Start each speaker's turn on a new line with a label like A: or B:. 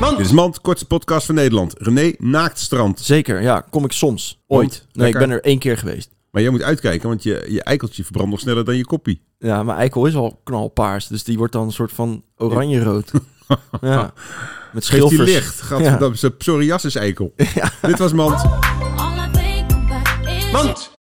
A: Man.
B: Dit is Mand, kortste podcast van Nederland. René, Naaktstrand.
A: Zeker, ja. Kom ik soms. Ooit.
B: Komt.
A: nee, ik
B: Lekker.
A: ben er één keer geweest.
B: Maar jij moet uitkijken, want je, je eikeltje verbrandt nog sneller dan je koppie.
A: Ja, maar eikel is al knalpaars. Dus die wordt dan een soort van oranje-rood. ja. Met
B: Geeft die
A: schilfers.
B: licht. Gaat
A: Ja.
B: dat is een psoriasis-eikel. Dit was Mand.
C: All I think about is you.